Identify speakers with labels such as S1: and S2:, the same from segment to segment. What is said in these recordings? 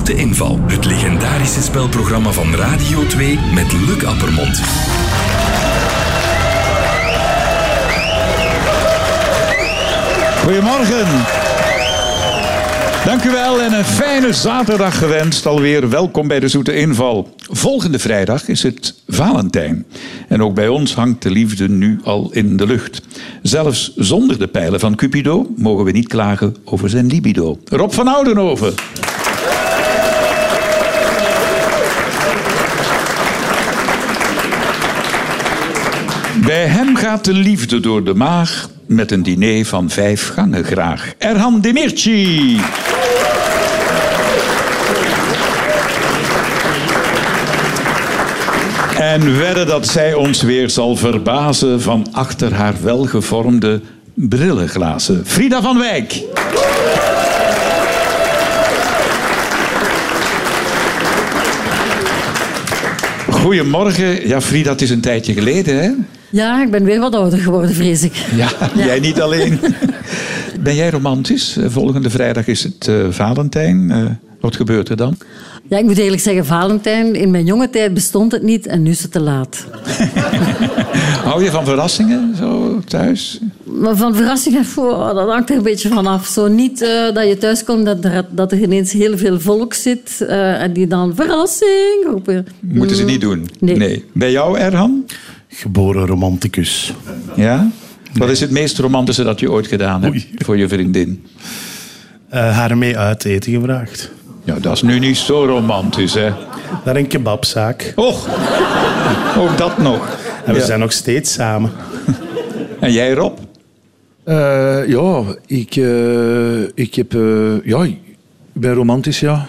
S1: Op de Inval, het legendarische spelprogramma van Radio 2 met Luc Appermond.
S2: Goedemorgen. Dank u wel en een fijne zaterdag gewenst. Alweer welkom bij de Zoete Inval. Volgende vrijdag is het Valentijn. En ook bij ons hangt de liefde nu al in de lucht. Zelfs zonder de pijlen van Cupido mogen we niet klagen over zijn libido. Rob van Oudenhoven. Bij hem gaat de liefde door de maag met een diner van vijf gangen graag. Erhan Demirci. En wedden dat zij ons weer zal verbazen van achter haar welgevormde brillenglazen. Frida van Wijk. Goedemorgen. Ja, Frida, het is een tijdje geleden, hè?
S3: Ja, ik ben weer wat ouder geworden, vrees ik.
S2: Ja, jij niet alleen. Ben jij romantisch? Eh, Volgende vrijdag is het eh, Valentijn. Eh, wat gebeurt er dan?
S3: Ja, ik moet eerlijk zeggen, Valentijn, in mijn jonge tijd bestond het niet en nu is het te laat.
S2: Hou je van verrassingen zo thuis?
S3: Maar van verrassingen, voor, oh, dat hangt er een beetje van af. Zo niet eh, dat je thuiskomt, dat er, dat er ineens heel veel volk zit eh, en die dan verrassing roepen.
S2: Moeten ze niet doen?
S3: Nee.
S2: Bij jou, Erhan?
S4: Geboren romanticus.
S2: Ja? Wat is het meest romantische dat je ooit gedaan hebt
S4: Oei.
S2: voor je vriendin?
S4: Eh, haar mee uit eten gevraagd.
S2: Ja, dat is nu niet zo romantisch, hè?
S4: Naar een kebabzaak.
S2: Och, ook dat nog.
S4: En we
S2: Ja.
S4: zijn nog steeds samen.
S2: En jij, Rob?
S5: Eh, ja, ik, eh, ik heb... eh, ja, ik ben romantisch, ja.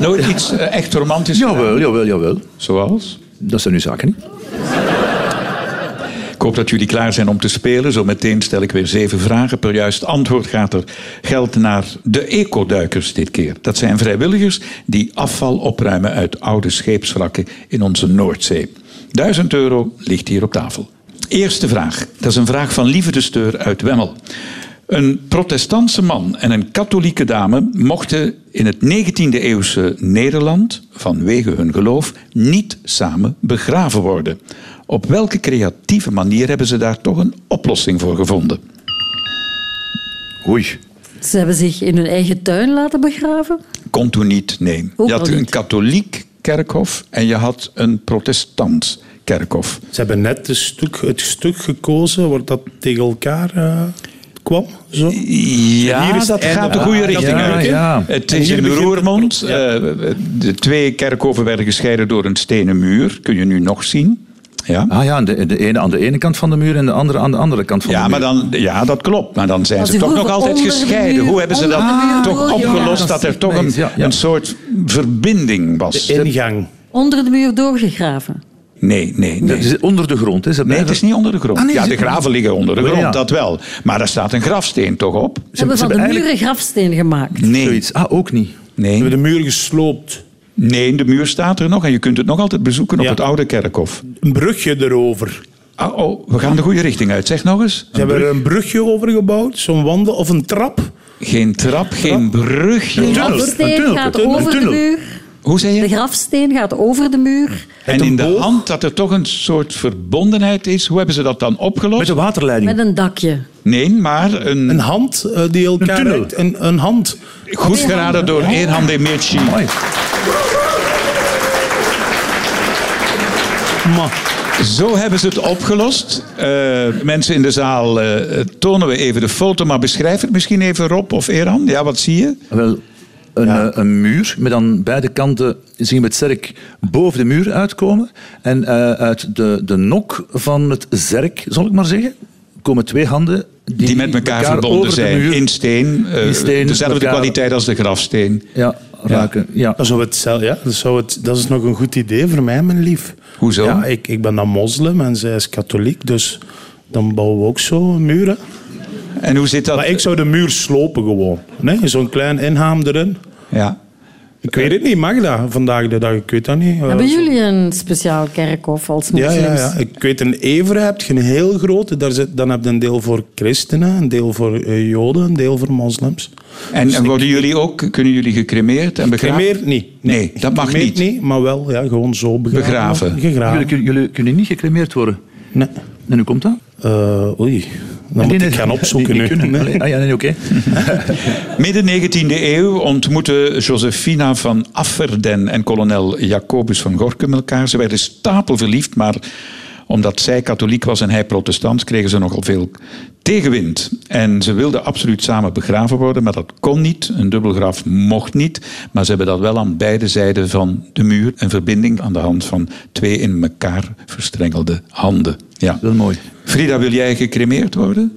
S2: Nooit iets eh, echt romantisch?
S5: Jawel, jawel, jawel.
S2: Zoals?
S5: Dat zijn nu zaken niet.
S2: Ik hoop dat jullie klaar zijn om te spelen. Zometeen stel ik weer zeven vragen. Per juist antwoord gaat er geld naar de ecoduikers dit keer. Dat zijn vrijwilligers die afval opruimen uit oude scheepswrakken in onze Noordzee. 1000 euro ligt hier op tafel. Eerste vraag. Dat is een vraag van Lieve de Steur uit Wemmel. Een protestantse man en een katholieke dame mochten in het 19e-eeuwse Nederland, vanwege hun geloof, niet samen begraven worden. Op welke creatieve manier hebben ze daar toch een oplossing voor gevonden?
S5: Oei.
S3: Ze hebben zich in hun eigen tuin laten begraven.
S2: Kon toen niet, nee.
S3: Ook
S2: Je had
S3: al
S2: een
S3: niet.
S2: katholiek kerkhof en je had een protestants kerkhof.
S4: Ze hebben net het stuk, het stuk gekozen waar dat tegen elkaar eh, kwam. Zo.
S2: Ja,
S4: Hier is het
S2: dat
S4: einde.
S2: gaat de goede
S4: Ah,
S2: richting
S5: ja,
S2: uit. hè?
S5: ja.
S2: Het
S4: En
S2: is
S4: hier
S2: in
S4: begint het
S2: Roermond.
S4: pro- ja.
S2: Eh, de twee kerkhoven werden gescheiden door een stenen muur. Kun je nu nog zien. Ja,
S5: Ah ja, de, de ene aan de ene kant van de muur en de andere aan de andere kant van
S2: ja,
S5: de
S2: maar
S5: muur.
S2: dan, ja, dat klopt. Maar dan zijn
S3: Maar
S2: ze
S3: ze
S2: toch nog
S3: hoeven
S2: altijd
S3: onder de
S2: gescheiden.
S3: muur,
S2: Hoe hebben ze dat
S3: onder de muur
S2: toch
S3: door, ja.
S2: opgelost?
S5: Dat
S2: dat er
S5: is
S2: toch een,
S5: ineens, ja, ja.
S2: een soort verbinding was.
S4: Ingang.
S3: Onder de muur doorgegraven.
S2: Nee, nee, nee.
S5: Dat is onder de grond, hè? Ze
S2: Nee,
S5: blijven-
S2: het is niet onder de grond.
S5: Ah, nee,
S2: ja,
S5: ze-
S2: de graven liggen onder de
S5: Oh, ja.
S2: grond, dat wel. Maar daar staat een grafsteen toch op?
S3: Ze hebben van de
S5: hebben
S3: muren grafsteen gemaakt.
S2: Nee,
S5: Zoiets. Ah, ook niet.
S4: Ze
S2: nee,
S4: hebben de muur gesloopt.
S2: nee, de muur staat er nog en je kunt het nog altijd bezoeken op
S4: Ja.
S2: het oude kerkhof.
S4: Een brugje erover.
S2: Oh, oh, we gaan de goede richting uit. Zeg nog eens.
S4: Ze hebben er een brugje over gebouwd. Zo'n wandel of een trap.
S2: Geen trap, geen
S3: De
S2: brugje.
S4: tunnel, een
S3: grafsteen
S4: tunnel,
S3: gaat
S4: een tunnel,
S3: over
S4: een
S3: de
S4: tunnel.
S3: muur.
S2: Hoe zei
S3: De
S2: je?
S3: grafsteen gaat over de muur.
S2: En
S4: een
S2: in de
S4: boog.
S2: hand dat er toch een soort verbondenheid is. Hoe hebben ze dat dan
S5: Met
S2: opgelost?
S5: de waterleiding.
S3: Met een dakje.
S2: Nee, maar een,
S4: Een hand eh, die elkaar...
S5: tunnel.
S4: reikt. Een, een hand.
S2: goed geraden door Erhan Demirci.
S5: Mooi.
S4: Ma.
S2: Zo hebben ze het opgelost. Eh, mensen in de zaal, eh, tonen we even de foto, maar beschrijf het misschien even Rob of Erhan. Ja, wat zie je?
S5: Wel, een, eh, een muur met aan beide kanten zien we het zerk boven de muur uitkomen. En eh, uit de, de nok van het zerk, zal ik maar zeggen, komen twee handen die,
S2: Die, met elkaar,
S5: over
S2: verbonden
S5: de
S2: zijn.
S5: muur-
S2: In steen. eh,
S5: In steen,
S2: dezelfde
S5: elkaar-
S2: kwaliteit als de grafsteen.
S5: Ja, raken. Ja.
S4: Dat, zou het, zelf- ja, dat, zou het, dat is nog een goed idee voor mij, mijn lief.
S2: Hoezo?
S4: Ja, ik, ik ben dan moslim en zij is katholiek, dus dan bouwen we ook zo muren.
S2: En hoe zit dat?
S4: Maar ik zou de muur slopen gewoon. Nee, zo'n klein inhaam erin.
S2: Ja.
S4: Ik weet het niet, mag dat vandaag de dag? Ik weet dat niet.
S3: Hebben
S4: Eh, zo-
S3: jullie een speciaal kerkhof als
S4: Ja,
S3: moslims?
S4: ja, ja. Ik weet, in Evere heb je een heel grote. Daar zit, dan heb je een deel voor christenen, een deel voor eh, joden, een deel voor moslims.
S2: En, en worden jullie ook, kunnen jullie gecremeerd en begraven?
S4: Cremeert niet.
S2: Nee, dat mag
S4: Cremeert
S2: niet.
S4: maar wel ja, gewoon zo begraven.
S2: Begraven.
S4: Gegraven.
S5: Jullie, jullie kunnen niet gecremeerd worden.
S4: Nee.
S5: En hoe komt dat?
S4: Eh, oei, dan
S5: Nee,
S4: moet
S5: nee,
S4: ik gaan
S5: nee,
S4: opzoeken
S5: die-
S4: nu.
S5: die kunnen.
S4: Nee.
S5: Allee, ah, ja, nee, oké.
S2: Midden 19e eeuw ontmoeten Josefina van Afferden en kolonel Jacobus van Gorkum elkaar. Ze werden stapelverliefd, maar omdat zij katholiek was en hij protestant, kregen ze nogal veel tegenwind. En ze wilden absoluut samen begraven worden, maar dat kon niet. Een dubbelgraf mocht niet. Maar ze hebben dat wel aan beide zijden van de muur. Een verbinding aan de hand van twee in elkaar verstrengelde handen. Ja.
S5: Wel mooi.
S2: Frida, wil jij gecremeerd worden?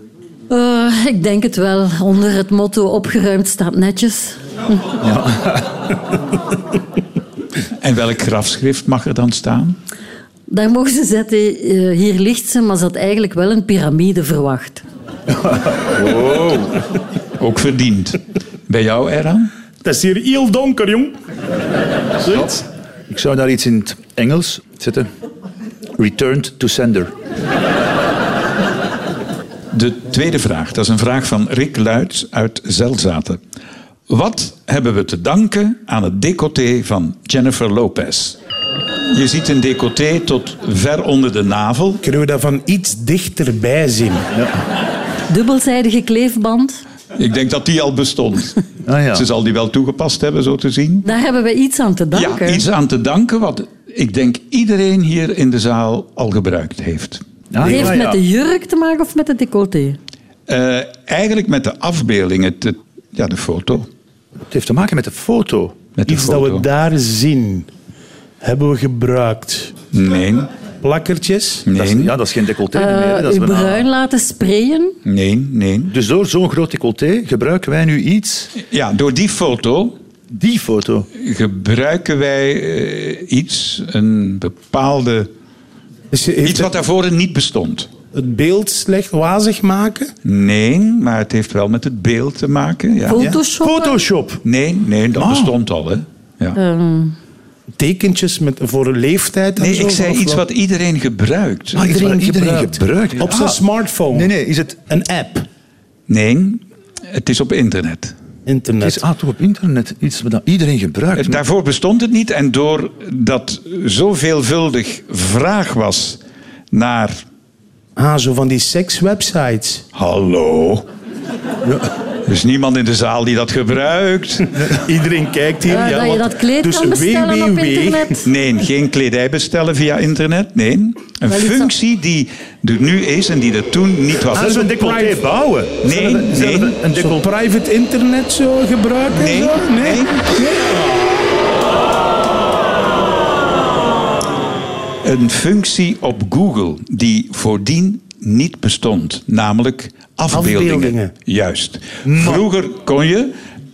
S3: Eh, ik denk het wel. Onder het motto opgeruimd staat netjes.
S2: En welk grafschrift mag er dan staan?
S3: Daar mogen ze zetten, eh, hier ligt ze, maar ze had eigenlijk wel een piramide verwacht.
S2: Ook verdiend. Bij jou, Eran?
S4: Het is hier heel donker, jong. Zoiets.
S5: Ik zou daar iets in het Engels zetten. Returned to sender.
S2: De tweede vraag, dat is een vraag van Rick Luits uit Zelzaten. Wat hebben we te danken aan het decolleté van Jennifer Lopez? Je ziet een decolleté tot ver onder de navel.
S4: Kunnen we dat van iets dichterbij zien?
S3: Dubbelzijdige kleefband.
S2: Ik denk dat die al bestond.
S5: Ah, ja.
S2: Ze zal die wel toegepast hebben, zo te zien.
S3: Daar hebben we iets aan te danken.
S2: Ja, iets aan te danken wat ik denk iedereen hier in de zaal al gebruikt heeft.
S5: Ah,
S3: Het heeft
S5: ja, ja.
S3: met de jurk te maken of met het decolleté?
S2: Eh, eigenlijk met de afbeelding, het, het- ja, de foto.
S5: Het heeft te maken met de foto.
S2: Met de
S4: Iets dat
S2: foto.
S4: we daar zien, hebben we gebruikt.
S2: Nee,
S4: Plakkertjes.
S5: Dat is,
S2: nee,
S5: ja, dat is geen decolleté
S3: Eh,
S5: meer. Dat is
S3: uw
S5: bijna-
S3: bruin laten sprayen.
S2: nee, nee.
S5: Dus door zo'n groot decolleté gebruiken wij nu iets.
S2: Ja, door die foto
S5: Die foto.
S2: gebruiken wij eh, iets, een bepaalde...
S4: Dus je- heeft
S2: Iets wat daarvoor niet bestond.
S4: het beeld slecht wazig maken.
S2: Nee, maar het heeft wel met het beeld te maken. Ja.
S3: Photoshop.
S5: Photoshop.
S2: Nee, nee, dat
S5: Ah.
S2: bestond al, hè. Ja.
S3: Eh,
S4: Tekentjes met, voor een leeftijd. en
S2: Nee,
S4: zo,
S2: ik zei
S4: of
S2: iets
S4: wel?
S2: wat iedereen gebruikt.
S5: Ah, iets wat
S4: Iedereen gebruikt. Op
S5: Ah.
S4: zijn smartphone.
S5: Nee, nee, is het...
S4: Een app.
S2: Nee, het is op internet.
S5: Het
S4: Internet.
S5: is ah, toch op internet iets wat iedereen gebruikt.
S2: Het- Daarvoor bestond het niet. En doordat zo veelvuldig vraag was naar...
S4: Ah, zo van die sekswebsites.
S2: Hallo. Er is niemand in de zaal die dat gebruikt.
S4: Iedereen kijkt hier.
S3: Eh, dat je
S4: want-
S3: dat kleed
S4: dus
S3: kan bestellen op
S4: www.
S3: internet.
S2: Nee, geen kledij bestellen via internet. Nee. Een
S3: iets
S2: functie die er nu is en die er toen niet was.
S5: Ah, zo'n decolleté bouwen.
S2: Nee,
S5: Zullen we- zullen we
S2: nee.
S5: Een
S4: Zo
S5: decolleté...
S4: private internet zo gebruiken?
S2: Nee,
S4: zo?
S2: nee. Een functie op Google die voordien niet bestond, namelijk afbeeldingen.
S4: Afbeeldingen.
S2: Juist. Vroeger kon je,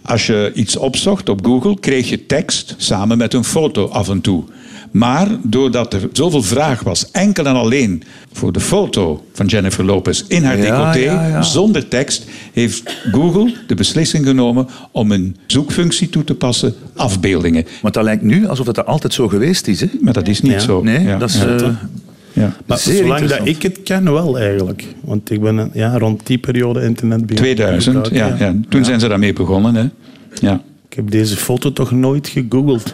S2: als je iets opzocht op Google, kreeg je tekst samen met een foto af en toe. Maar doordat er zoveel vraag was, enkel en alleen voor de foto van Jennifer Lopez in haar
S5: Ja,
S2: decolleté,
S5: ja, ja.
S2: zonder tekst, heeft Google de beslissing genomen om een zoekfunctie toe te passen, afbeeldingen.
S5: Want dat lijkt nu alsof dat er altijd zo geweest is. Hè?
S2: Maar dat is niet
S4: Oh, Ja.
S2: zo.
S5: Nee,
S2: Ja,
S5: dat is...
S2: ja.
S5: eh,
S2: Ja.
S4: Maar
S5: Zeer
S4: zolang dat ik
S5: interessant.
S4: het ken, wel eigenlijk. Want ik ben eh, ja, rond die periode internet begonnen.
S2: 2000, ja. ja. Toen zijn ze daarmee begonnen. Hè. Ja.
S4: Ik heb deze foto toch nooit gegoogeld.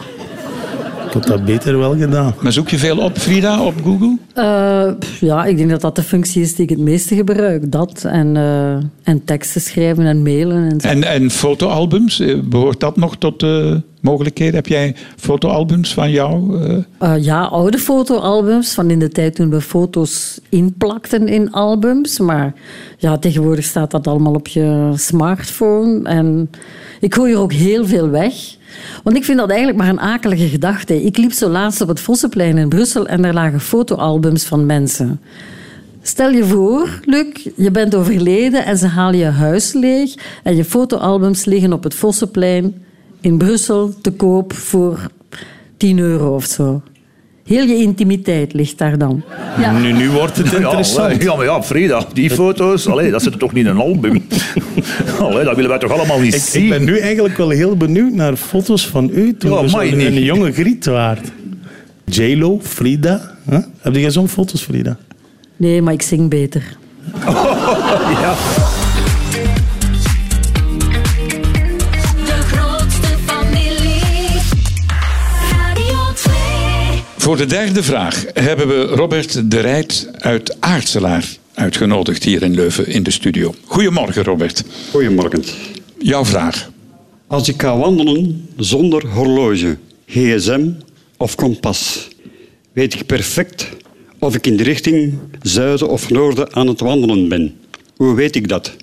S4: Ik had dat beter wel gedaan.
S2: Maar zoek je veel op, Frida, op Google?
S3: Eh, pff, ja, ik denk dat dat de functie is die ik het meeste gebruik. Dat en, eh, en teksten schrijven en mailen. En zo.
S2: En, en fotoalbums, eh, behoort dat nog tot de mogelijkheden? Heb jij fotoalbums van jou? eh?
S3: Eh, ja, oude fotoalbums, van in de tijd toen we foto's inplakten in albums. Maar ja, tegenwoordig staat dat allemaal op je smartphone. En ik gooi er ook heel veel weg. Want ik vind dat eigenlijk maar een akelige gedachte. Ik liep zo laatst op het Vossenplein in Brussel en daar lagen fotoalbums van mensen. Stel je voor, Luc, je bent overleden en ze halen je huis leeg en je fotoalbums liggen op het Vossenplein in Brussel te koop voor 10 euro of zo. Heel je intimiteit ligt daar dan.
S4: Nu, nu wordt het
S5: Ja,
S4: interessant.
S5: ja, maar ja, Frida, die foto's, allee, dat zit er toch niet in een album? allemaal. Hè. Dat willen wij toch allemaal niet
S4: Ik,
S5: zien?
S4: ik ben nu eigenlijk wel heel benieuwd naar foto's van u toen
S5: Ja,
S4: je
S5: amai,
S4: zo'n-
S5: niet.
S4: een jonge griet waard. J-Lo, Frida. hè? Heb jij zo'n foto's, Frida?
S3: Nee, maar ik zing beter.
S5: Ja.
S6: De grootste familie. Radio 2.
S2: Voor de derde vraag hebben we Robert de Rijt uit Aartselaar uitgenodigd hier in Leuven in de studio. Goedemorgen Robert.
S7: Goedemorgen.
S2: Jouw vraag.
S7: Als ik ga wandelen zonder horloge, gsm of kompas, weet ik perfect of ik in de richting zuiden of noorden aan het wandelen ben. Hoe weet ik dat?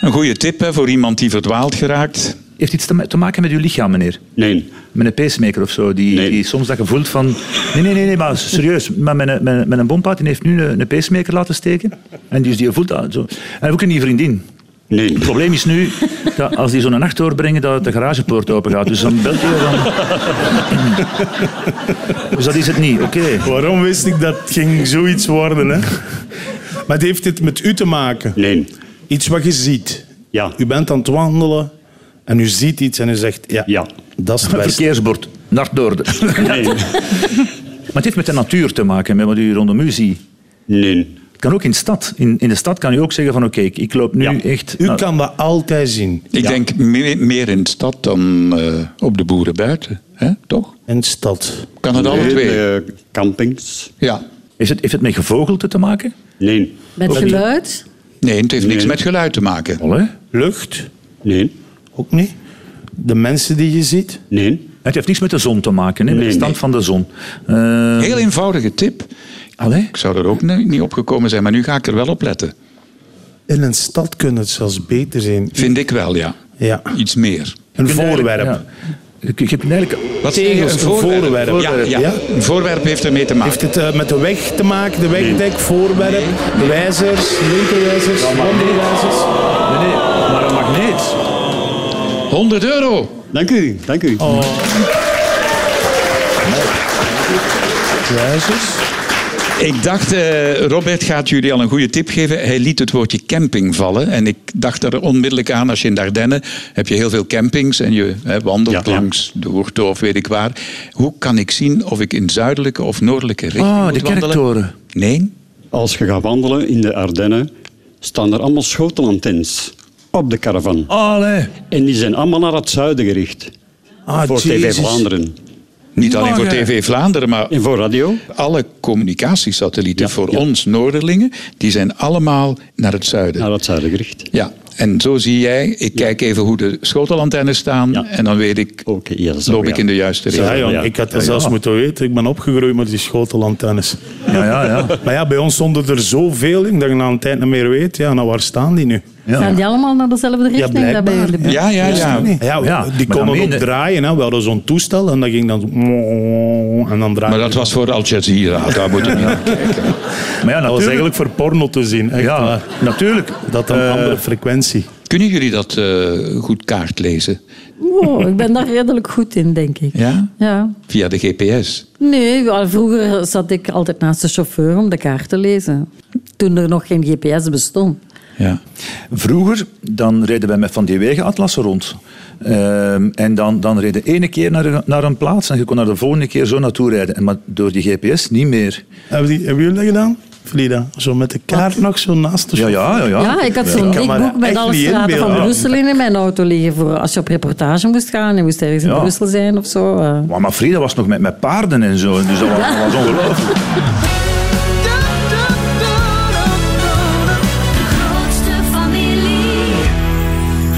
S2: Een goede tip hè, voor iemand die verdwaald geraakt.
S5: Heeft iets te, ma- te maken met uw lichaam, meneer?
S7: Nee,
S5: Met een pacemaker of zo, die,
S7: Nee.
S5: die soms dat je voelt van... Nee, nee, nee, nee maar serieus. Maar mijn, mijn, mijn bompaard die heeft nu een, een pacemaker laten steken. En dus die voelt dat zo. En ook een nieuwe vriendin.
S7: nee.
S5: Het probleem is nu dat als die zo'n nacht doorbrengen, dat de garagepoort open gaat. Dus dan belt hij dan... dus dat is het niet, oké.
S4: Waarom wist ik dat het ging zoiets worden? Hè? Maar het heeft dit met u te maken.
S7: Nee.
S4: Iets wat je ziet.
S7: Ja.
S4: U bent aan het wandelen en u ziet iets en u zegt... Ja,
S7: Ja.
S4: dat is het beste.
S5: Verkeersbord, naar Doorde.
S7: Nee.
S5: Maar het heeft met de natuur te maken, met wat u rondom u ziet.
S7: Nee.
S5: Het kan ook in de stad. In, in de stad kan u ook zeggen van oké, ik, ik loop nu
S7: Ja.
S5: echt...
S4: U
S5: nou,
S4: kan dat altijd zien.
S2: Ik denk me- meer in de stad dan eh, op de boeren buiten. Hè? Toch?
S4: En stad.
S2: Kan het alle
S7: Nee,
S2: twee?
S7: eh, campings?
S2: Ja.
S5: Heeft, het, heeft het met gevogelte te maken?
S7: Nee.
S3: Met geluid?
S2: Nee, het heeft niks
S7: Nee.
S2: met geluid te maken.
S5: Wel, hè?
S4: Lucht,
S7: Nee.
S4: ook niet. De mensen die je ziet.
S7: Nee.
S5: Het heeft niks met de zon te maken, hè? met
S7: Nee,
S5: de stand
S7: nee.
S5: van de zon. Eh,
S2: Heel eenvoudige tip.
S5: allee?
S2: Ik zou er ook ne- niet op gekomen zijn, maar nu ga ik er wel op letten.
S4: In een stad kunnen het zelfs beter zijn.
S2: Vind ik wel, ja.
S4: Ja.
S2: Iets meer.
S4: Een
S5: Je kunt
S4: voorwerp.
S5: eigenlijk- ja. Je- Je hebt eigenlijk...
S2: Wat
S4: Tegels,
S2: zeg je?
S4: een voorwerp.
S2: Ja, ja.
S4: Ja?
S2: Een voorwerp heeft ermee te maken.
S4: Heeft het eh, met de weg te maken? De wegdek, voorwerp, wijzers, linkerwijzers, onderwijzers?
S5: Nee, nee, maar een magneet.
S2: 100 euro.
S7: Dank u. Dank u.
S2: Oh.
S4: Wijzers?
S2: Ik dacht, eh, Robert gaat jullie al een goede tip geven. Hij liet het woordje camping vallen. En ik dacht er onmiddellijk aan, als je in Ardennen heb je heel veel campings en je hè, wandelt
S7: Ja, ja.
S2: langs de Hoerto of weet ik waar. Hoe kan ik zien of ik in zuidelijke of noordelijke richting
S5: Ah,
S2: moet
S5: de
S2: wandelen?
S5: kerktoren.
S2: Nee,
S7: Als je gaat wandelen in de Ardennen, staan er allemaal schotelantennes op de caravan.
S5: Allee.
S7: En die zijn allemaal naar het zuiden gericht.
S4: Ah,
S7: voor TV
S4: Jezus.
S7: Vlaanderen.
S2: niet alleen voor
S5: Mag, hè?
S2: TV Vlaanderen, maar
S7: En voor radio?
S2: alle communicatiesatellieten
S7: Ja,
S2: voor
S7: ja.
S2: ons Noorderlingen, die zijn allemaal naar het zuiden.
S7: Naar het zuiden gericht.
S2: Ja, en zo zie jij, ik kijk even hoe de schotelantennes staan
S7: Ja.
S2: en dan weet ik,
S7: Oké, ja, zo,
S2: loop ik
S7: ja.
S2: in de juiste richting.
S4: Ja, jong,
S7: Ja.
S4: ik had dat
S5: Ja,
S4: zelfs
S5: ja.
S4: moeten weten. Ik ben opgegroeid met die schotelantennes.
S5: Ja, ja, ja.
S4: Maar ja, bij ons stonden er zoveel in dat je na een tijd niet meer weet. Ja, nou waar staan die nu?
S3: Gaan
S5: ja.
S3: die allemaal naar dezelfde richting? daar
S4: blijkbaar.
S3: bij jullie?
S2: Ja, ja, ja.
S4: Ja,
S5: Ja,
S4: die
S5: maar dan
S4: konden ook
S5: meen je-
S4: draaien. Hè. We hadden zo'n toestel en dat ging dan zo... En dan draaide
S2: Maar dat was voor Al Jazeera, daar moet je niet aan kijken.
S5: Maar ja,
S4: Dat was
S5: natuurlijk...
S4: eigenlijk voor porno te zien. Echt
S5: Ja,
S4: waar.
S5: natuurlijk.
S4: Dat een
S5: Eh,
S4: andere frequentie.
S2: Kunnen jullie dat eh, goed kaart lezen?
S3: Wow, ik ben daar redelijk goed in, denk ik.
S2: Ja?
S3: Ja.
S2: Via de GPS.
S3: Nee, wel, vroeger zat ik altijd naast de chauffeur om de kaart te lezen. Toen er nog geen GPS bestond.
S2: Ja.
S5: Vroeger dan reden wij met van die wegenatlassen rond. Ehm, en dan, dan reed je ene keer naar, een- naar een plaats en je kon naar de volgende keer zo naartoe rijden. En Maar door die GPS niet meer.
S4: Hebben, die, hebben jullie dat gedaan? Frida, zo met de kaart nog zo naast de
S5: Ja, ja, ja. ja.
S3: Ja, ik had zo'n
S4: Ah, Ik kan
S3: dik
S4: me
S3: boek
S4: dat
S3: met
S4: echt
S3: alle
S4: niet
S3: straten
S4: inbeelden.
S3: van
S4: Ja.
S3: Brussel in in mijn auto liggen. Voor als je op reportage moest gaan. Je moest ergens in
S5: Ja.
S3: Brussel zijn of zo. eh.
S5: Maar, maar Frida was nog met, met paarden en zo. Dus dat was, dat was ongelooflijk.
S6: De grootste familie.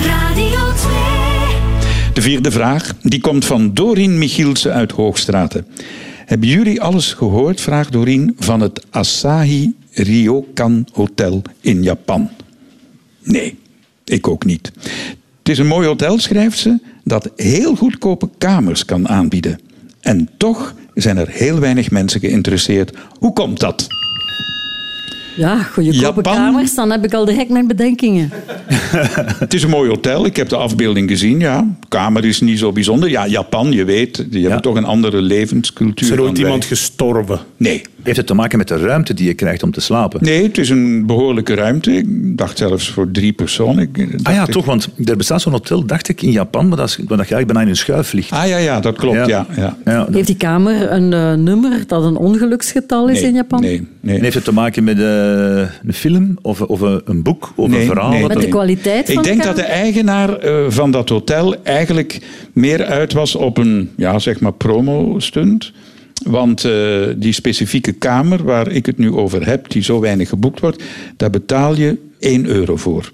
S6: Radio 2.
S2: De vierde vraag, die komt van Dorien Michielsen uit Hoogstraten. Hebben jullie alles gehoord, vraagt Dorien, van het Asahi Ryokan Hotel in Japan? Nee, ik ook niet. Het is een mooi hotel, schrijft ze, dat heel goedkope kamers kan aanbieden. En toch zijn er heel weinig mensen geïnteresseerd. Hoe komt dat?
S3: Ja, goedkope
S2: Japan?
S3: kamers, dan heb ik al direct mijn bedenkingen.
S2: Het is een mooi hotel. Ik heb de afbeelding gezien. Ja, kamer is niet zo bijzonder. Ja, Japan, je weet, die hebben toch een andere levenscultuur.
S4: Is er
S2: dan
S4: ooit
S2: wij.
S4: iemand gestorven?
S2: Nee.
S8: Heeft het te maken met de ruimte die je krijgt om te slapen?
S2: Nee, het is een behoorlijke ruimte. Ik dacht zelfs voor drie personen. Ik dacht
S8: Ah ja,
S2: ik-
S8: toch, want er bestaat zo'n hotel, dacht ik, in Japan, maar dat, is, waar dat je eigenlijk bijna in een schuif ligt.
S2: Ah ja, ja, dat klopt. Ja. Ja,
S8: Ja, dat-
S3: Heeft die kamer een eh, nummer dat een ongeluksgetal is
S2: Nee,
S3: in Japan?
S2: Nee, nee.
S8: En heeft het te maken met eh, een film of, of een een boek of
S2: Nee,
S8: een verhaal?
S2: nee,
S8: dat
S3: Met de
S8: er-
S3: kwaliteit van
S2: Ik
S3: de
S2: denk dat
S3: kamer?
S2: de eigenaar eh, van dat hotel eigenlijk meer uit was op een, ja, zeg maar, promo-stunt. Want eh, die specifieke kamer waar ik het nu over heb, die zo weinig geboekt wordt, daar betaal je 1 euro voor.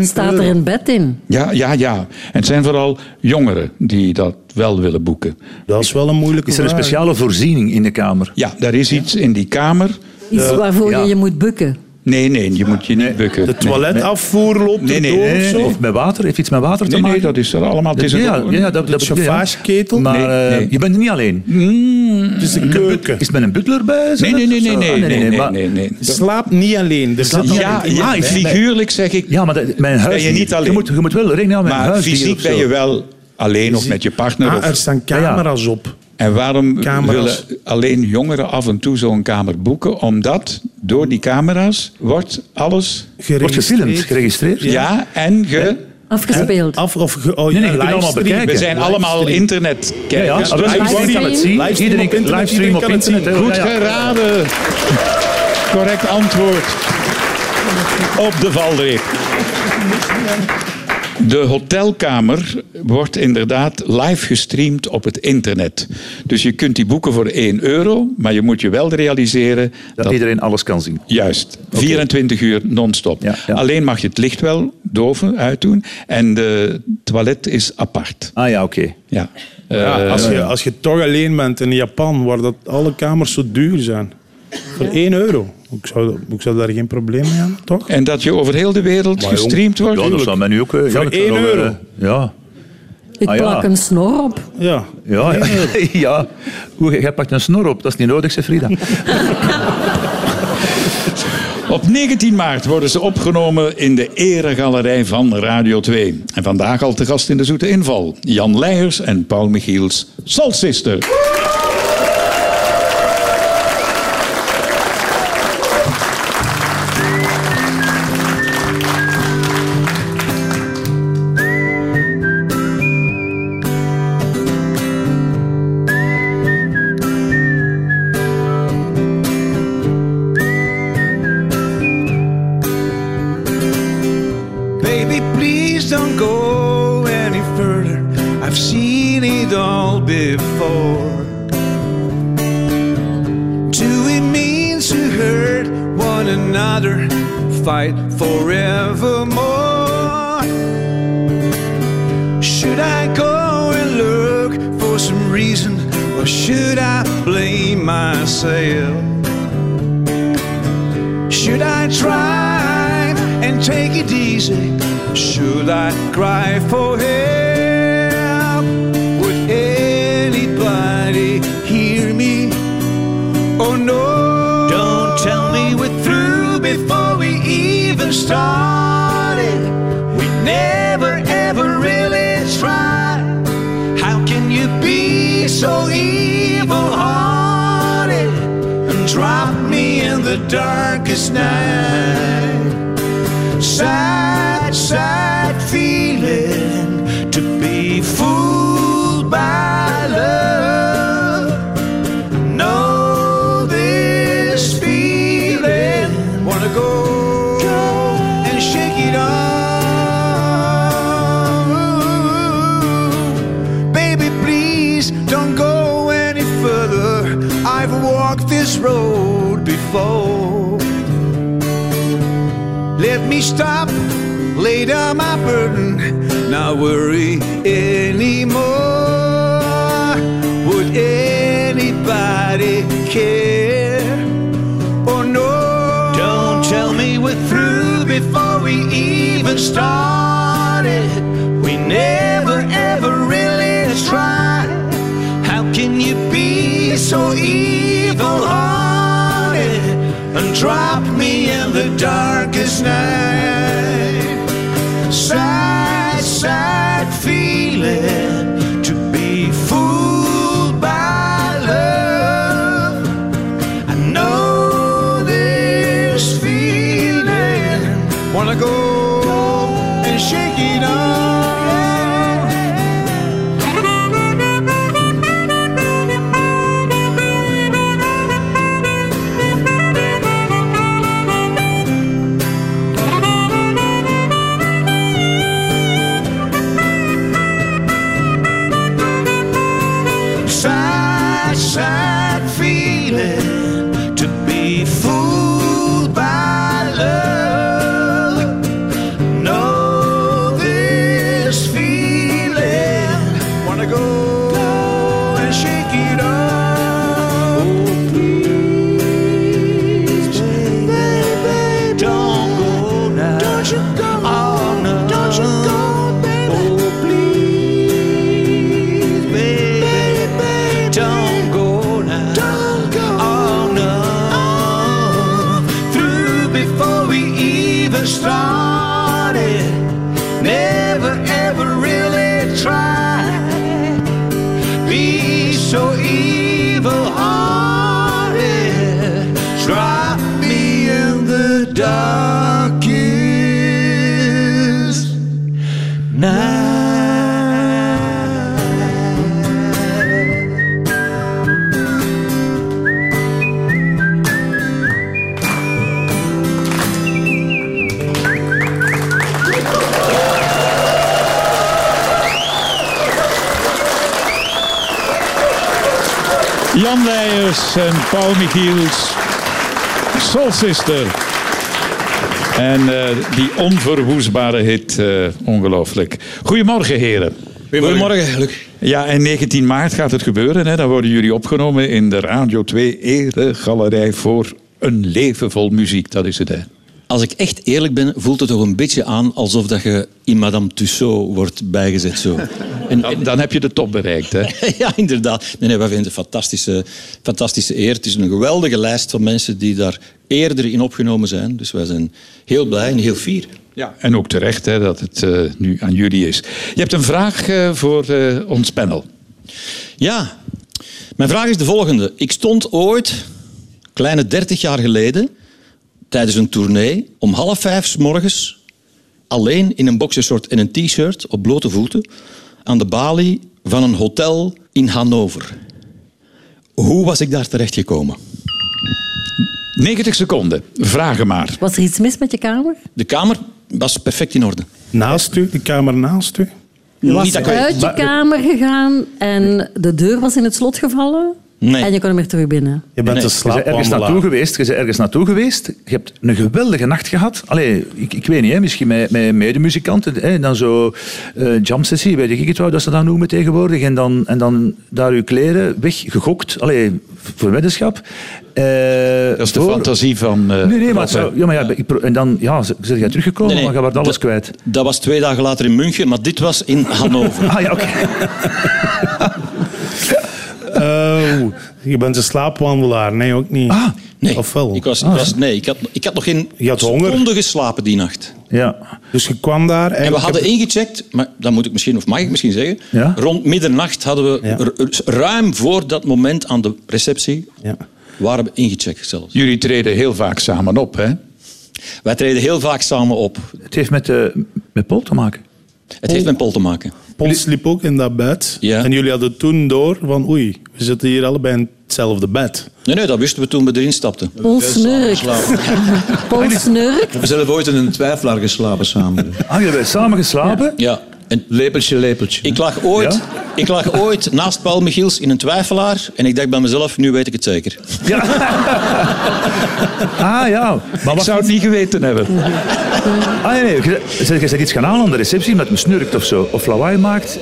S3: Staat er een bed in?
S2: Ja, ja, ja. En het zijn vooral jongeren die dat wel willen boeken.
S4: Dat is wel een moeilijke
S8: Is er een
S4: vraag.
S8: speciale voorziening in de kamer?
S2: Ja, daar is iets in die kamer.
S3: Iets
S4: Eh,
S3: waarvoor
S8: ja.
S3: je je moet bukken.
S2: Nee, nee, je moet je niet bukken.
S4: De toiletafvoer loopt
S2: Nee, nee,
S4: erdoor
S2: nee,
S4: of
S2: nee,
S4: zo?
S8: Eh, Of met water? Heeft iets met water te
S2: Nee, nee,
S8: maken?
S2: dat is er allemaal. Het is een-
S8: ja, ja, ja, dat, dat
S4: Een
S8: bedoel ik, ja.
S4: chauffageketel?
S8: Maar
S2: Nee,
S8: eh,
S2: nee. Mm.
S8: je bent er niet alleen.
S4: Het is de keuken.
S8: Is het met een butler bij?
S2: Nee, nee, nee, nee,
S8: Ah,
S2: nee, nee,
S8: maar-
S2: nee, nee.
S4: Slaap Dus niet alleen. Er zit nog
S2: Ja,
S4: een
S2: ja,
S4: iemand bij.
S2: figuurlijk zeg ik.
S8: Ja, maar dat, mijn huis.
S2: je niet alleen.
S8: Je moet, je moet wel rekening houden met een
S2: Maar
S8: huisdier
S2: fysiek
S8: of zo.
S2: ben je wel alleen of met je partner.
S4: Ah,
S2: of-
S4: er staan camera's op.
S2: en waarom
S4: camera's.
S2: willen alleen jongeren af en toe zo'n kamer boeken? Omdat door die camera's wordt alles...
S8: Wordt gefilmd,
S4: Geregistreerd.
S8: geregistreerd.
S2: Ja, en ge...
S3: Afgespeeld.
S4: Af of ge- oh,
S8: Nee, nee, je
S4: ja,
S8: kunt het allemaal
S4: livestream.
S8: bekijken.
S2: We zijn allemaal
S8: Ja, ja,
S2: internetkijkers.
S8: alles-
S2: Dus
S8: iedereen
S2: wordt-
S8: kan het zien.
S4: Livestream
S8: Iedereen
S4: op internet,
S8: livestream op
S4: iedereen kan het
S8: internet.
S4: zien.
S8: hè.
S2: Goed
S8: Ja, ja.
S2: geraden. Correct antwoord. Op de valreep. De hotelkamer wordt inderdaad live gestreamd op het internet. Dus je kunt die boeken voor 1 euro, maar je moet je wel realiseren
S8: Dat
S2: dat
S8: iedereen alles kan zien.
S2: Juist, 24 uur non-stop.
S8: Ja, ja.
S2: Alleen mag je het licht wel doven uitdoen en de toilet is apart.
S8: Ah ja, oké.
S2: Ja.
S4: Ja,
S2: Eh,
S4: als, je, als je toch alleen bent in Japan, waar dat alle kamers zo duur zijn. Voor 1 euro. Ik zou, dat- ik zou daar geen probleem mee hebben, toch?
S2: en dat je over heel de wereld
S4: jong,
S2: gestreamd wordt.
S8: Ja, dat zou mij nu ook... eh, ja,
S4: Voor
S8: dat kan
S4: één
S8: wel,
S4: euro.
S8: eh, Ja.
S3: Ik
S8: Ah, ja.
S3: plak een snor op.
S4: Ja.
S8: Ja, ja. ja. Oeh, jij pakt een snor op. Dat is niet nodig, zei Frida.
S2: Op 19 maart worden ze opgenomen in de eregalerij van Radio 2. En vandaag al te gast in de Zoete Inval. Jan Leijers en Paul Michiels Soul Sister.
S5: Baby, please don't go any further. I've seen it all before. Do it means to hurt one another, fight forevermore? Should I go and look for some reason, or should I blame myself? Should I try and take it easy? Should I cry for help? Would anybody hear me? Oh no! Don't tell me we're through before we even started. We never ever really tried. How can you be so evil hearted and drop me in the darkest night? Sad, sad feeling to be fooled by love. Know this feeling, wanna go, and shake it off. Baby, please don't go any further. I've walked this road before. Let me stop, lay down my burden, not worry anymore. Would anybody care? Oh no! Don't tell me we're through before we even started. We never ever really tried. How can you be so evil hearted and Drop me in the darkest night. Sad, sad feeling to be fooled by love. I know this feeling. Wanna go and shake it off. Sad, sad feeling to be fooled by love. No, this feeling. Wanna go and shake it off. Oh, please, baby, don't go now. Don't you go. Oh, no. Don't you go, baby. Oh, please, baby, don't go now. Don't go. Oh, no. Through before we even started. Never ever really tried. Be so evil hearted. Drop me in the darkest night.
S9: Jan Leijers en Paul Michiels. Soul Sister. En eh, die onverwoestbare hit, eh, ongelooflijk. Goedemorgen, heren.
S10: Goedemorgen, Luc.
S2: Ja, en 19 maart gaat het gebeuren. Hè. Dan worden jullie opgenomen in de Radio 2 Eregalerij voor een leven vol muziek. Dat is het, hè.
S10: Als ik echt eerlijk ben, voelt het toch een beetje aan alsof dat je in Madame Tussaud wordt bijgezet. Zo. En,
S2: Dan, dan heb je de top bereikt, hè.
S10: ja, inderdaad. Nee, nee, wij vinden het een fantastische, fantastische eer. Het is een geweldige lijst van mensen die daar eerder in opgenomen zijn. Dus wij zijn heel blij en heel fier.
S2: Ja, en ook terecht hè, dat het eh, nu aan jullie is. Je hebt een vraag eh, voor eh, ons panel.
S10: Ja, mijn vraag is de volgende. Ik stond ooit, kleine 30 jaar geleden, tijdens een tournee, om half vijf 's morgens, alleen in een boxershort en een t-shirt, op blote voeten, aan de balie van een hotel in Hannover. Hoe was ik daar terechtgekomen?
S2: 90 seconden, vragen maar.
S3: Was er iets mis met je kamer?
S10: De kamer was perfect in orde.
S4: Naast u, de kamer naast u.
S3: Je was
S10: Niet dat ik weet.
S3: uit je
S4: Maar-
S3: kamer gegaan en de deur was in het slot gevallen.
S10: Nee.
S3: En je kon hem weer terug binnen.
S4: Je bent
S10: Nee,
S4: een
S11: Je bent ergens naartoe
S4: slaapwandelaar.
S11: geweest. Je bent ergens naartoe geweest. Je hebt een geweldige nacht gehad. Allee, ik, ik weet niet, hè, misschien met, met medemuzikanten. Hè, dan zo eh jam sessie, weet ik het wel, dat ze dat noemen tegenwoordig. En dan, en dan daar uw kleren weggegokt. Allee, voor weddenschap. Eh,
S2: Dat is de
S11: voor-
S2: fantasie van... eh,
S11: Nee, nee, maar, het
S2: Robert.
S11: zou- ja, maar ja, ik pro- en dan ja, ze- ze zijn teruggekomen,
S10: Nee, nee,
S11: maar je wordt alles
S10: dat-
S11: kwijt.
S10: Dat was twee dagen later in München, maar dit was in Hannover.
S11: Ah ja, oké.
S4: Oh, je bent een slaapwandelaar. Nee, ook niet.
S11: Ah,
S10: Nee,
S4: Of wel?
S10: Ik was, ik was, nee ik, had, ik had nog geen
S4: Je had honger.
S10: seconde geslapen die nacht.
S11: Ja.
S4: Dus je kwam daar en,
S10: En we
S4: ik heb-
S10: hadden ingecheckt, maar dat moet ik misschien, of mag ik misschien zeggen,
S11: Ja.
S10: rond middernacht hadden we
S4: Ja.
S10: r- r- ruim voor dat moment aan de receptie
S4: Ja.
S10: waren we ingecheckt zelfs.
S2: Jullie treden heel vaak samen op, hè?
S10: Wij treden heel vaak samen op.
S11: Het heeft met, eh, met Paul te maken.
S10: Het heeft met Pol te maken.
S4: Paul sliep ook in dat bed.
S10: Ja.
S4: En jullie hadden toen door van oei, we zitten hier allebei in hetzelfde bed.
S10: Nee, nee, dat wisten we toen we erin stapten.
S3: Paul snurkt. Paul snurkt.
S10: We zelf ooit in een twijfelaar geslapen samen.
S11: Ah, jullie hebben samen geslapen?
S10: Ja. En
S11: Lepeltje, lepeltje.
S10: ik lag, ooit, ik lag ooit naast Paul Michiels in een twijfelaar en ik dacht bij mezelf, nu weet ik het zeker.
S11: Ja. ah ja, maar
S2: Ik
S11: wat...
S2: zou het niet geweten hebben.
S11: Ah, nee, nee. Je, je bent iets gaan aan aan de receptie omdat men snurkt of zo. Of lawaai maakt.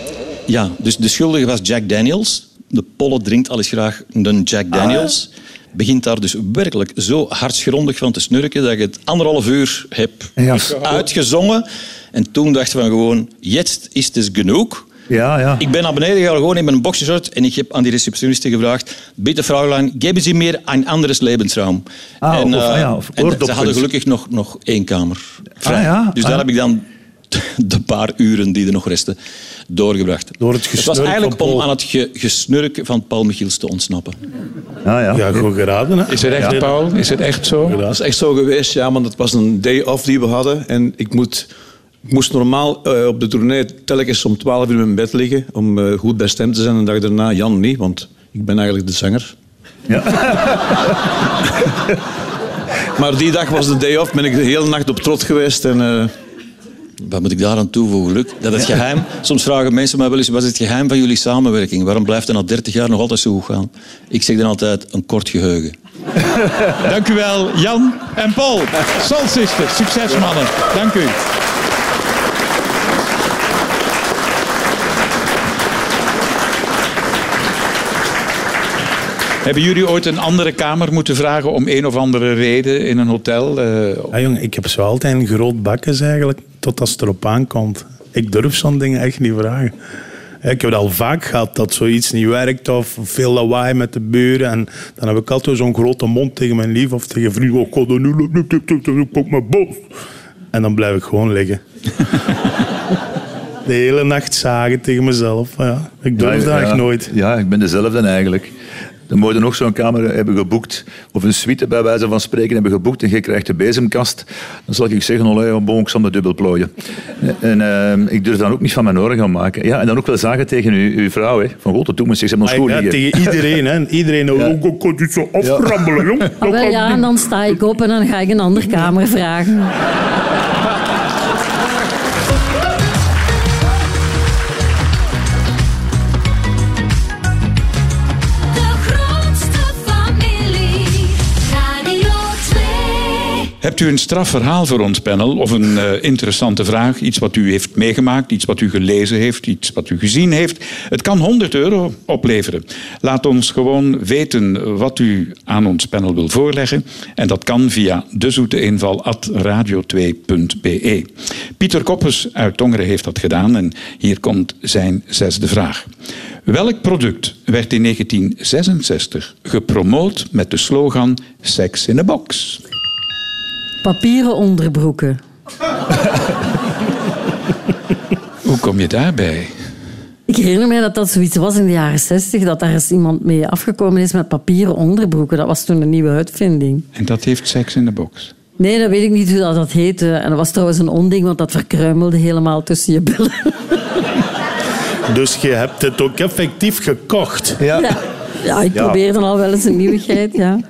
S10: Ja, dus de schuldige was Jack Daniels. De Polle drinkt al eens graag een Jack Daniels. Begint daar dus werkelijk zo hartgrondig van te snurken dat je het anderhalf uur hebt
S11: Ja.
S10: uitgezongen. En toen dachten we gewoon, jetzt is het genoeg.
S5: Ja, ja.
S10: Ik ben naar beneden gegaan, gewoon in mijn boxershort. En ik heb aan die receptioniste gevraagd... Bitte, Fräulein, geven ze meer een anderes Lebensraum.
S5: Ah,
S10: en,
S5: of-
S10: eh,
S5: ah ja, of
S10: en ze
S5: oordopjes.
S10: hadden gelukkig nog, nog één kamer vrij.
S5: Ah, ja,
S10: dus
S5: ah.
S10: daar heb ik dan de paar uren die er nog resten doorgebracht.
S4: Door het
S10: het was
S4: gesnurk
S10: eigenlijk
S4: van
S10: om
S4: Paul.
S10: aan het ge- gesnurk van Paul Michiels te ontsnappen.
S5: Ja, ja.
S4: Ja, goed geraden. Hè?
S2: Is het echt, Paul? Is het echt zo?
S12: Dat is echt zo geweest, ja, want het was een day off die we hadden. En ik, moet, ik moest normaal eh, op de tournee telkens om 12 uur in mijn bed liggen. Om eh, goed bij stem te zijn. En de dag daarna, Jan niet, want ik ben eigenlijk de zanger. maar die dag was de day off, ben ik de hele nacht op trot geweest. En, eh,
S10: Wat moet ik daaraan toevoegen, Luc? Dat het geheim... Soms vragen mensen mij wel eens, wat is het geheim van jullie samenwerking? Waarom blijft het na 30 jaar nog altijd zo goed gaan? Ik zeg dan altijd, een kort geheugen.
S13: Dank u wel, Jan en Paul. Soul Sisters, succes mannen. Dank u. Hebben jullie ooit een andere kamer moeten vragen om een of andere reden in een hotel? Eh,
S4: Ja, jongen, Ah, ik heb zo altijd een groot bakkes eigenlijk, tot als het erop aankomt. Ik durf zo'n dingen echt niet vragen. Ik heb het al vaak gehad dat zoiets niet werkt of veel lawaai met de buren. En dan heb ik altijd zo'n grote mond tegen mijn lief of tegen vrienden. Oh, god, nu loopt- loopt- loopt- loopt- loopt- loopt me boos. En dan blijf ik gewoon liggen. De hele nacht zagen tegen mezelf. Ja, ik durf
S5: Ja,
S4: dat
S5: ja.
S4: echt nooit.
S5: Ja, ik ben dezelfde eigenlijk. Dan moet je nog zo'n kamer hebben geboekt, of een suite bij wijze van spreken hebben geboekt, en je krijgt de bezemkast. Dan zal ik zeggen, olé, oh, bon, ik zal me dubbel plooien. En ehm, ik durf dan ook niet van mijn oren gaan maken. Ja, en dan ook wel zagen tegen uw, uw vrouw, hè. van god, dat doet me, zeg, ze hebben ons
S4: Ah, Ja,
S5: schoenen gegeven.
S4: tegen iedereen. Hè. En Iedereen, oh, ik kan dit zo aframmelen, jong. Oh, Dat
S3: Ah, wel
S4: kan
S3: ja, en dan sta ik op en dan ga ik een andere kamer vragen.
S6: De grootste familie. Radio 2.
S2: Hebt u een strafverhaal voor ons panel of een eh, interessante vraag? Iets wat u heeft meegemaakt, iets wat u gelezen heeft, iets wat u gezien heeft. Het kan 100 euro opleveren. Laat ons gewoon weten wat u aan ons panel wil voorleggen. En dat kan via dezoeteinval.radio2.be. Pieter Koppes uit Tongeren heeft dat gedaan en hier komt zijn zesde vraag. Welk product werd in 1966 gepromoot met de slogan Sex in a Box?
S3: Papieren onderbroeken.
S2: Hoe kom je daarbij?
S3: Ik herinner me dat dat zoiets was in de jaren zestig, dat daar eens iemand mee afgekomen is met papieren onderbroeken. Dat was toen een nieuwe uitvinding.
S2: En dat heeft seks in de box.
S3: Nee, dat weet ik niet hoe dat, dat heette. En dat was trouwens een onding, want dat verkruimelde helemaal tussen je billen.
S4: Dus je hebt het ook effectief gekocht.
S5: Ja.
S3: Ja, ja ik probeerde al wel eens een nieuwigheid, ja.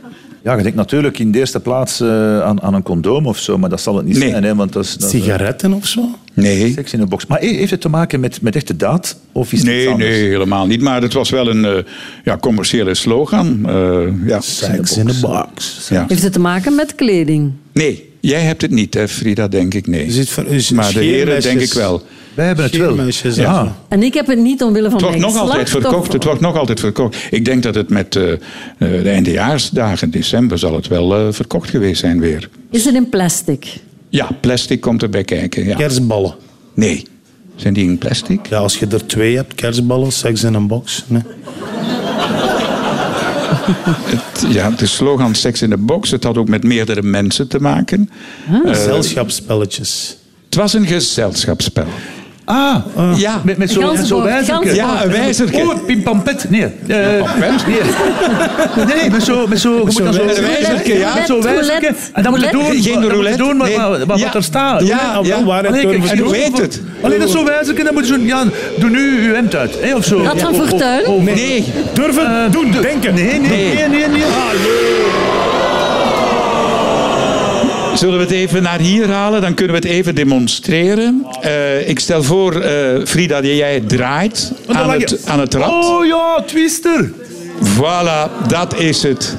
S5: ja, je denkt natuurlijk in de eerste plaats eh, aan, aan een condoom of zo, maar dat zal het niet
S2: Nee.
S5: zijn. Hè, want dat is, dat, is, eh,
S4: Sigaretten of zo?
S2: Nee.
S5: seks in een box. Maar heeft het te maken met, met echte daad? Of is het iets
S2: Nee,
S5: anders?
S2: nee, helemaal niet. Maar het was wel een eh, ja, commerciële slogan. Eh, ja.
S4: Sex in a box.
S2: Ja.
S3: Heeft het te maken met kleding?
S2: Nee, jij hebt het niet, hè, Frida, denk ik. Nee.
S4: Dus het ver- is-
S2: maar de heren,
S4: scheermesjes.
S2: denk ik wel.
S5: Wij hebben het wel.
S4: Scheermesjes,
S5: Ja.
S4: ja.
S3: En ik heb het niet omwille van
S2: Het wordt
S3: mijn
S2: nog altijd
S3: geslacht,
S2: verkocht.
S3: of-
S2: Het wordt nog altijd verkocht. Ik denk dat het met eh, eh, de eindejaarsdagen, december, zal het wel eh, verkocht geweest zijn weer.
S3: Is het in plastic?
S2: Ja, plastic komt erbij kijken. Ja.
S4: Kerstballen.
S2: Nee. Zijn die in plastic?
S4: Ja, als je er twee hebt, kerstballen, seks in een box. Nee.
S14: Eh.
S2: Ja, de slogan Sex in the Box. Het had ook met meerdere mensen te maken.
S4: Gezelschapsspelletjes.
S2: Het was een gezelschapsspel.
S5: Ah,
S2: ja.
S5: met, met zo'n
S3: Ganzenbord,
S5: zo wijzerke.
S3: ganzenbord. Ja,
S2: een wijzerke.
S5: Oh, pimpampet. Nee. eh,
S2: Pampet?
S5: Nee. nee, met zo'n... Met zo, je moet dan zo,
S2: wijzerke, wijzerke, ja.
S5: Met zo'n
S3: Roulette,
S5: wijzerke. En dan moet je
S3: roulette.
S5: doen,
S2: Geen
S5: dan moet je
S2: roulette,
S5: doen wat,
S2: nee.
S5: wat, wat
S2: Ja.
S5: er staat.
S2: Ja, ja,
S4: wel, waar het
S5: Allee,
S4: door-
S5: kijk,
S4: en
S2: hoe
S5: je-
S2: heet het?
S5: Allee, dat is zo'n wijzerke. Dan moet je zo'n... Ja, doe nu uw hemd uit. Hè, of zo.
S3: Rad van
S5: Of- of-
S3: Fortuin?
S5: of-
S2: Nee.
S4: Durven,
S5: eh,
S4: doen,
S5: doe-
S4: denken.
S5: Nee, nee,
S2: Nee.
S5: nee, nee. Ah, nee.
S2: Zullen we het even naar hier halen? Dan kunnen we het even demonstreren. Eh, ik stel voor, eh, Frida, dat jij het draait
S5: Want dan
S2: aan
S5: lag je-
S2: het, aan het rad.
S5: Oh ja, twister.
S2: Voilà, dat is het.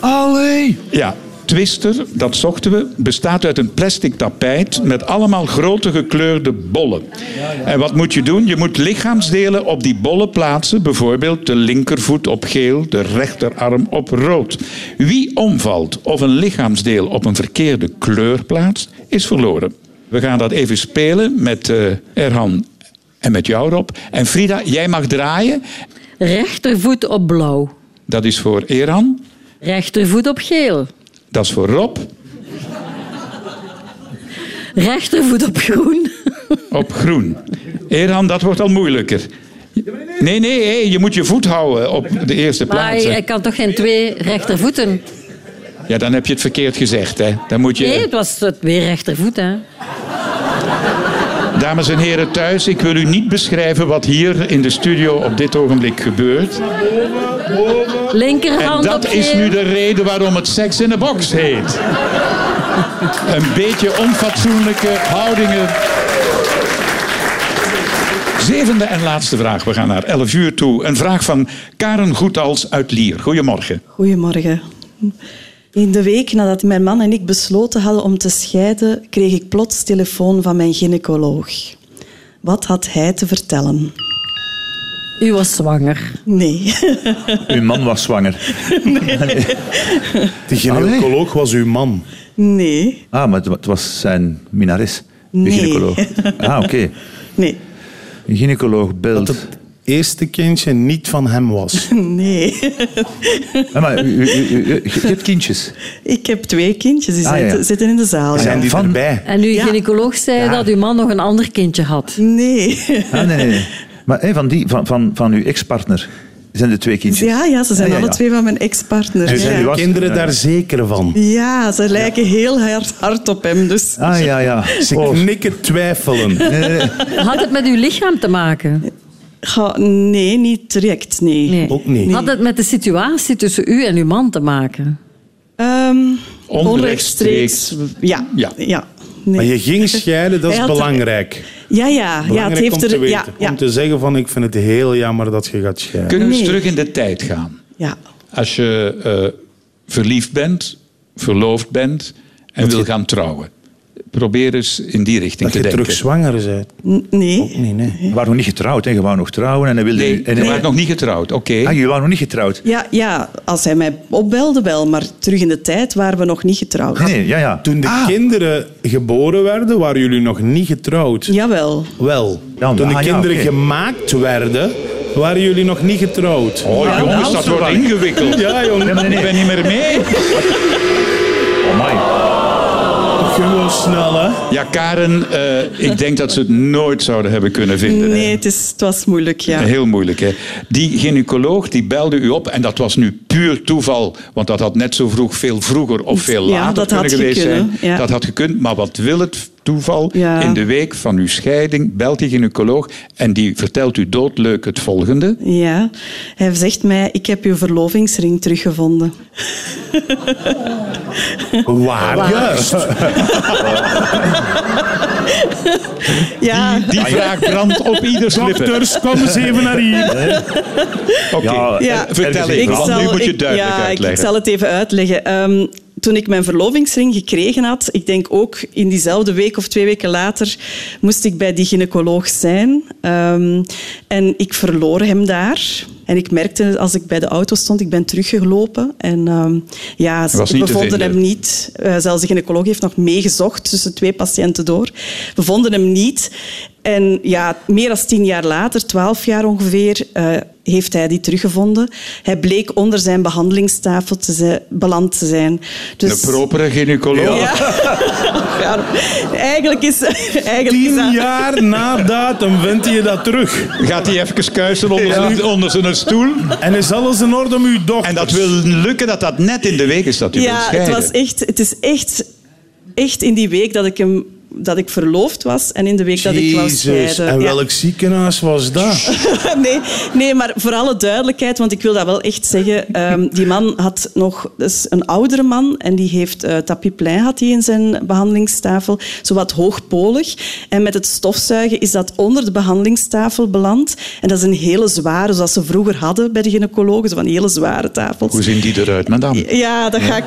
S5: Allee.
S2: Ja, Twister, dat zochten we, bestaat uit een plastic tapijt met allemaal grote gekleurde bollen. En wat moet je doen? Je moet lichaamsdelen op die bollen plaatsen. Bijvoorbeeld de linkervoet op geel, de rechterarm op rood. Wie omvalt of een lichaamsdeel op een verkeerde kleur plaatst, is verloren. We gaan dat even spelen met eh Erhan En met jou, Rob. En Frida, jij mag draaien.
S3: Rechtervoet op blauw.
S2: Dat is voor Eran.
S3: Rechtervoet op geel.
S2: Dat is voor Rob.
S3: Rechtervoet op groen.
S2: Op groen. Eran, dat wordt al moeilijker. Nee, nee, hé, je moet je voet houden op de eerste
S3: Maar
S2: plaats. hè.
S3: ik kan toch geen twee rechtervoeten?
S2: Ja, dan heb je het verkeerd gezegd. Hè. Dan moet je...
S3: Nee, het was het weer rechtervoet. Hè.
S2: Dames en heren thuis, ik wil u niet beschrijven wat hier in de studio op dit ogenblik gebeurt. En
S3: Linkerhand op
S2: dat
S3: geel.
S2: is nu de reden waarom het Sex in the Box heet. Een beetje onfatsoenlijke houdingen. Zevende en laatste vraag. We gaan naar 11 uur toe. Een vraag van Karen Goedals uit Lier. Goedemorgen.
S14: Goedemorgen. In de week nadat mijn man en ik besloten hadden om te scheiden, kreeg ik plots telefoon van mijn gynaecoloog. Wat had hij te vertellen?
S3: U was zwanger.
S14: Nee.
S5: Uw man was zwanger.
S4: De gynaecoloog was uw man.
S14: Nee.
S5: Ah, maar het wa- het was zijn minares. De
S14: Nee.
S5: gynaecoloog. Ah, oké.
S14: Nee.
S5: Een gynaecoloog belt.
S4: Eerste kindje niet van hem was.
S14: Nee.
S5: Ah, maar u, u- u- u- je hebt kindjes.
S14: Ik heb twee kindjes, die
S5: Ah,
S14: zijn-
S5: ja.
S14: zitten in de zaal.
S5: Zijn die Van- erbij?
S3: En uw gynaecoloog zei dat uw man nog een ander kindje had.
S14: Nee.
S5: Ah, nee, nee, nee. Maar hé, van, die, van, van, van uw ex-partner zijn de twee kindjes.
S14: Ja, ja, ze zijn
S5: Ah, ja,
S14: alle
S5: ja.
S14: twee van mijn ex-partner.
S5: Dus
S14: ja.
S5: zijn uw kinderen daar
S4: zeker van?
S14: Ja, ze lijken heel hard, hard op hem. Dus.
S5: Ah, ja, ja.
S4: Ze
S14: Oh.
S4: knikken twijfelen.
S3: Had het met uw lichaam te maken?
S14: Goh, nee, niet direct, nee.
S4: Ook niet.
S3: Had het met de situatie tussen u en uw man te maken?
S14: Ehm,
S4: Onrechtstreeks.
S14: Ja.
S4: Ja.
S14: ja.
S4: Maar je ging scheiden, dat
S14: Hij
S4: is
S14: had-
S4: belangrijk.
S14: Ja, ja, ja,
S4: Belangrijk
S14: het heeft
S4: om te
S14: er...
S4: weten.
S14: Ja, ja,
S4: Om te zeggen van, ik vind het heel jammer dat je gaat scheiden.
S2: Kunnen we eens
S14: Nee.
S2: terug in de tijd gaan?
S14: ja.
S2: Als je eh, verliefd bent, verloofd bent en wil gaan trouwen. Probeer eens in die richting
S4: Dat
S2: te
S4: je
S2: denken.
S4: terug zwanger bent.
S14: N- Nee.
S4: Nee, nee.
S5: We waren nog niet getrouwd, hè. je wou nog trouwen. En hij wilde,
S2: Nee,
S5: en
S2: je waart nog niet getrouwd, oké.
S5: Ah, je wou nog niet getrouwd.
S14: Ja, ja, als hij mij opbelde wel, maar terug in de tijd waren we nog niet getrouwd.
S5: Nee, nee, ja, ja. Ah.
S4: Toen de kinderen geboren werden, waren jullie nog niet getrouwd.
S14: Jawel.
S4: Wel.
S5: Ja,
S4: Toen de
S5: ah, ja,
S4: kinderen
S5: oké.
S4: gemaakt werden, waren jullie nog niet getrouwd.
S2: Oh
S4: Ja,
S2: jongens,
S4: nou,
S2: dat
S4: zo
S2: wordt
S4: wel.
S2: ingewikkeld.
S4: Ja, jongen.
S5: Ja, maar nee, nee.
S2: Ik ben niet meer mee.
S5: Oh, my.
S4: Gewoon snel, hè.
S2: Ja, Karen, eh, ik denk dat ze het nooit zouden hebben kunnen vinden. hè.
S14: Nee, het, is, het was moeilijk, ja.
S2: Heel moeilijk, hè? Die gynaecoloog die belde u op, en dat was nu puur toeval, want dat had net zo vroeg, veel vroeger of veel
S14: Ja,
S2: later
S14: dat had
S2: kunnen geweest
S14: gekund,
S2: zijn.
S14: ja.
S2: Dat had gekund, maar wat wil het toeval?
S14: Ja.
S2: In de week van uw scheiding belt die gynaecoloog en die vertelt u doodleuk het volgende.
S14: Ja. Hij zegt mij, ik heb uw verlovingsring teruggevonden.
S4: Waar, juist.
S14: Ah, Ja,
S2: Die vraag brandt op ieders lippen.
S4: Dokters, kom eens even naar hier.
S2: Oké,
S5: Ja,
S14: Ja.
S2: eh, vertel
S5: ergens
S2: even,
S14: Ik
S2: want nu
S14: zal-
S2: moet je
S14: ik-
S2: duidelijk
S14: ja, ik-
S2: uitleggen.
S14: Ik zal het even uitleggen. Ehm, toen ik mijn verlovingsring gekregen had, ik denk ook in diezelfde week of twee weken later, moest ik bij die gynaecoloog zijn. Ehm, en ik verloor hem daar. En ik merkte het als ik bij de auto stond, ik ben teruggelopen. En ehm, ja, ze
S2: was niet te
S14: bevonden
S2: vinden.
S14: hem niet. Eh, zelfs de gynaecoloog heeft nog meegezocht tussen twee patiënten door. We vonden hem niet. En ja, meer dan tien jaar later, twaalf jaar ongeveer, eh, heeft hij die teruggevonden. Hij bleek onder zijn behandelingstafel te zijn, beland te zijn. Dus,
S2: Een propere gynaecoloog.
S14: Ja. Ja, eigenlijk is, eigenlijk is
S4: Tien
S14: dat...
S4: jaar na datum vindt je dat terug.
S2: Gaat hij even kuisen onder, zijn, onder zijn stoel?
S4: En is alles in orde om uw dochter?
S2: En dat wil lukken dat dat net in de week is dat u wilt
S14: Ja,
S2: scheiden.
S14: het, was echt, het is echt, echt in die week dat ik, hem, dat ik verloofd was en in de week dat ik wou
S4: Jezus,
S14: scheiden.
S4: en
S14: Ja.
S4: welk ziekenhuis was dat?
S14: nee, nee, maar voor alle duidelijkheid, want ik wil dat wel echt zeggen. ehm, die man had nog dus een oudere man en die heeft eh tapiplein had hij in zijn behandelingstafel, zowat hoogpolig. En met het stofzuigen is dat onder de behandelingstafel beland. En dat is een hele zware, zoals ze vroeger hadden bij de gynaecologen, zo van die hele zware tafels.
S2: Hoe zien die eruit, madame?
S14: Ja, dat ga ik.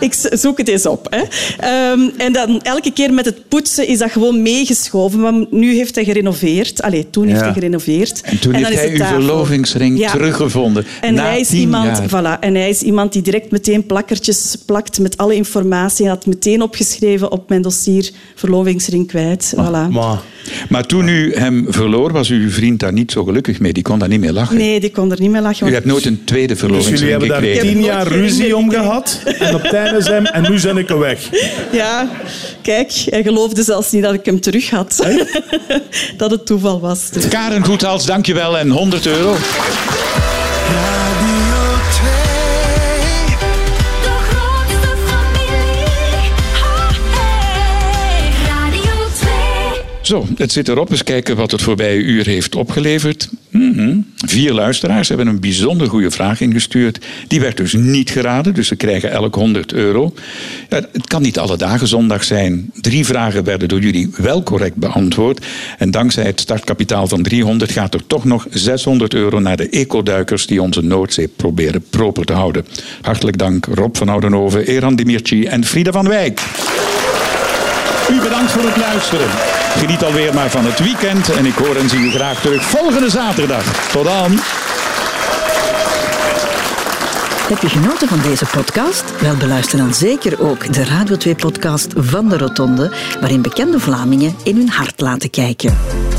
S14: ik zoek het eens op. Hè. Ehm, en dan elke keer met het
S10: het poetsen is dat gewoon meegeschoven. Maar nu heeft hij gerenoveerd. Allee, toen heeft
S2: Ja.
S10: hij gerenoveerd.
S2: En toen
S10: dan
S2: heeft
S10: is
S2: hij
S10: de
S2: uw
S10: tafel.
S2: verlovingsring
S10: Ja.
S2: teruggevonden.
S10: En
S2: na
S10: hij, is
S2: tien
S10: iemand,
S2: jaar.
S10: voilà, en hij is iemand die direct meteen plakkertjes plakt met alle informatie. Hij had meteen opgeschreven op mijn dossier verlovingsring kwijt. Voilà.
S2: Maar. toen u hem verloor, was uw vriend daar niet zo gelukkig mee. Die kon daar niet meer lachen.
S10: Nee, die kon er niet meer lachen.
S2: U
S10: want-
S2: hebt nooit een tweede
S4: Dus
S2: verlovingsring
S4: jullie hebben daar
S2: gekregen.
S4: tien jaar ruzie om gehad. En op het einde zijn en nu zijn ik er weg.
S10: Ja, kijk, hij geloofde zelfs niet dat ik hem terug had. dat het toeval was. Dus.
S15: Karen Goethals, dankjewel en 100 euro.
S2: Zo, het zit erop. Eens kijken wat het voorbije uur heeft opgeleverd. Mhm. Vier luisteraars hebben een bijzonder goede vraag ingestuurd. Die werd dus niet geraden, dus ze krijgen elk 100 euro. Ja, het kan niet alle dagen zondag zijn. Drie vragen werden door jullie wel correct beantwoord. En dankzij het startkapitaal van 300 gaat er toch nog 600 euro naar de ecoduikers die onze Noordzee proberen proper te houden. Hartelijk dank Rob van Oudenhoven, Eran Dimirci en Frida van Wijk. U bedankt voor het luisteren.
S15: Geniet alweer maar van het weekend en ik hoor en zie u graag terug volgende zaterdag. Tot dan.
S3: Heb je genoten van deze podcast? Wel, beluister dan zeker ook de Radio 2-podcast van de Rotonde, waarin bekende Vlamingen in hun hart laten kijken.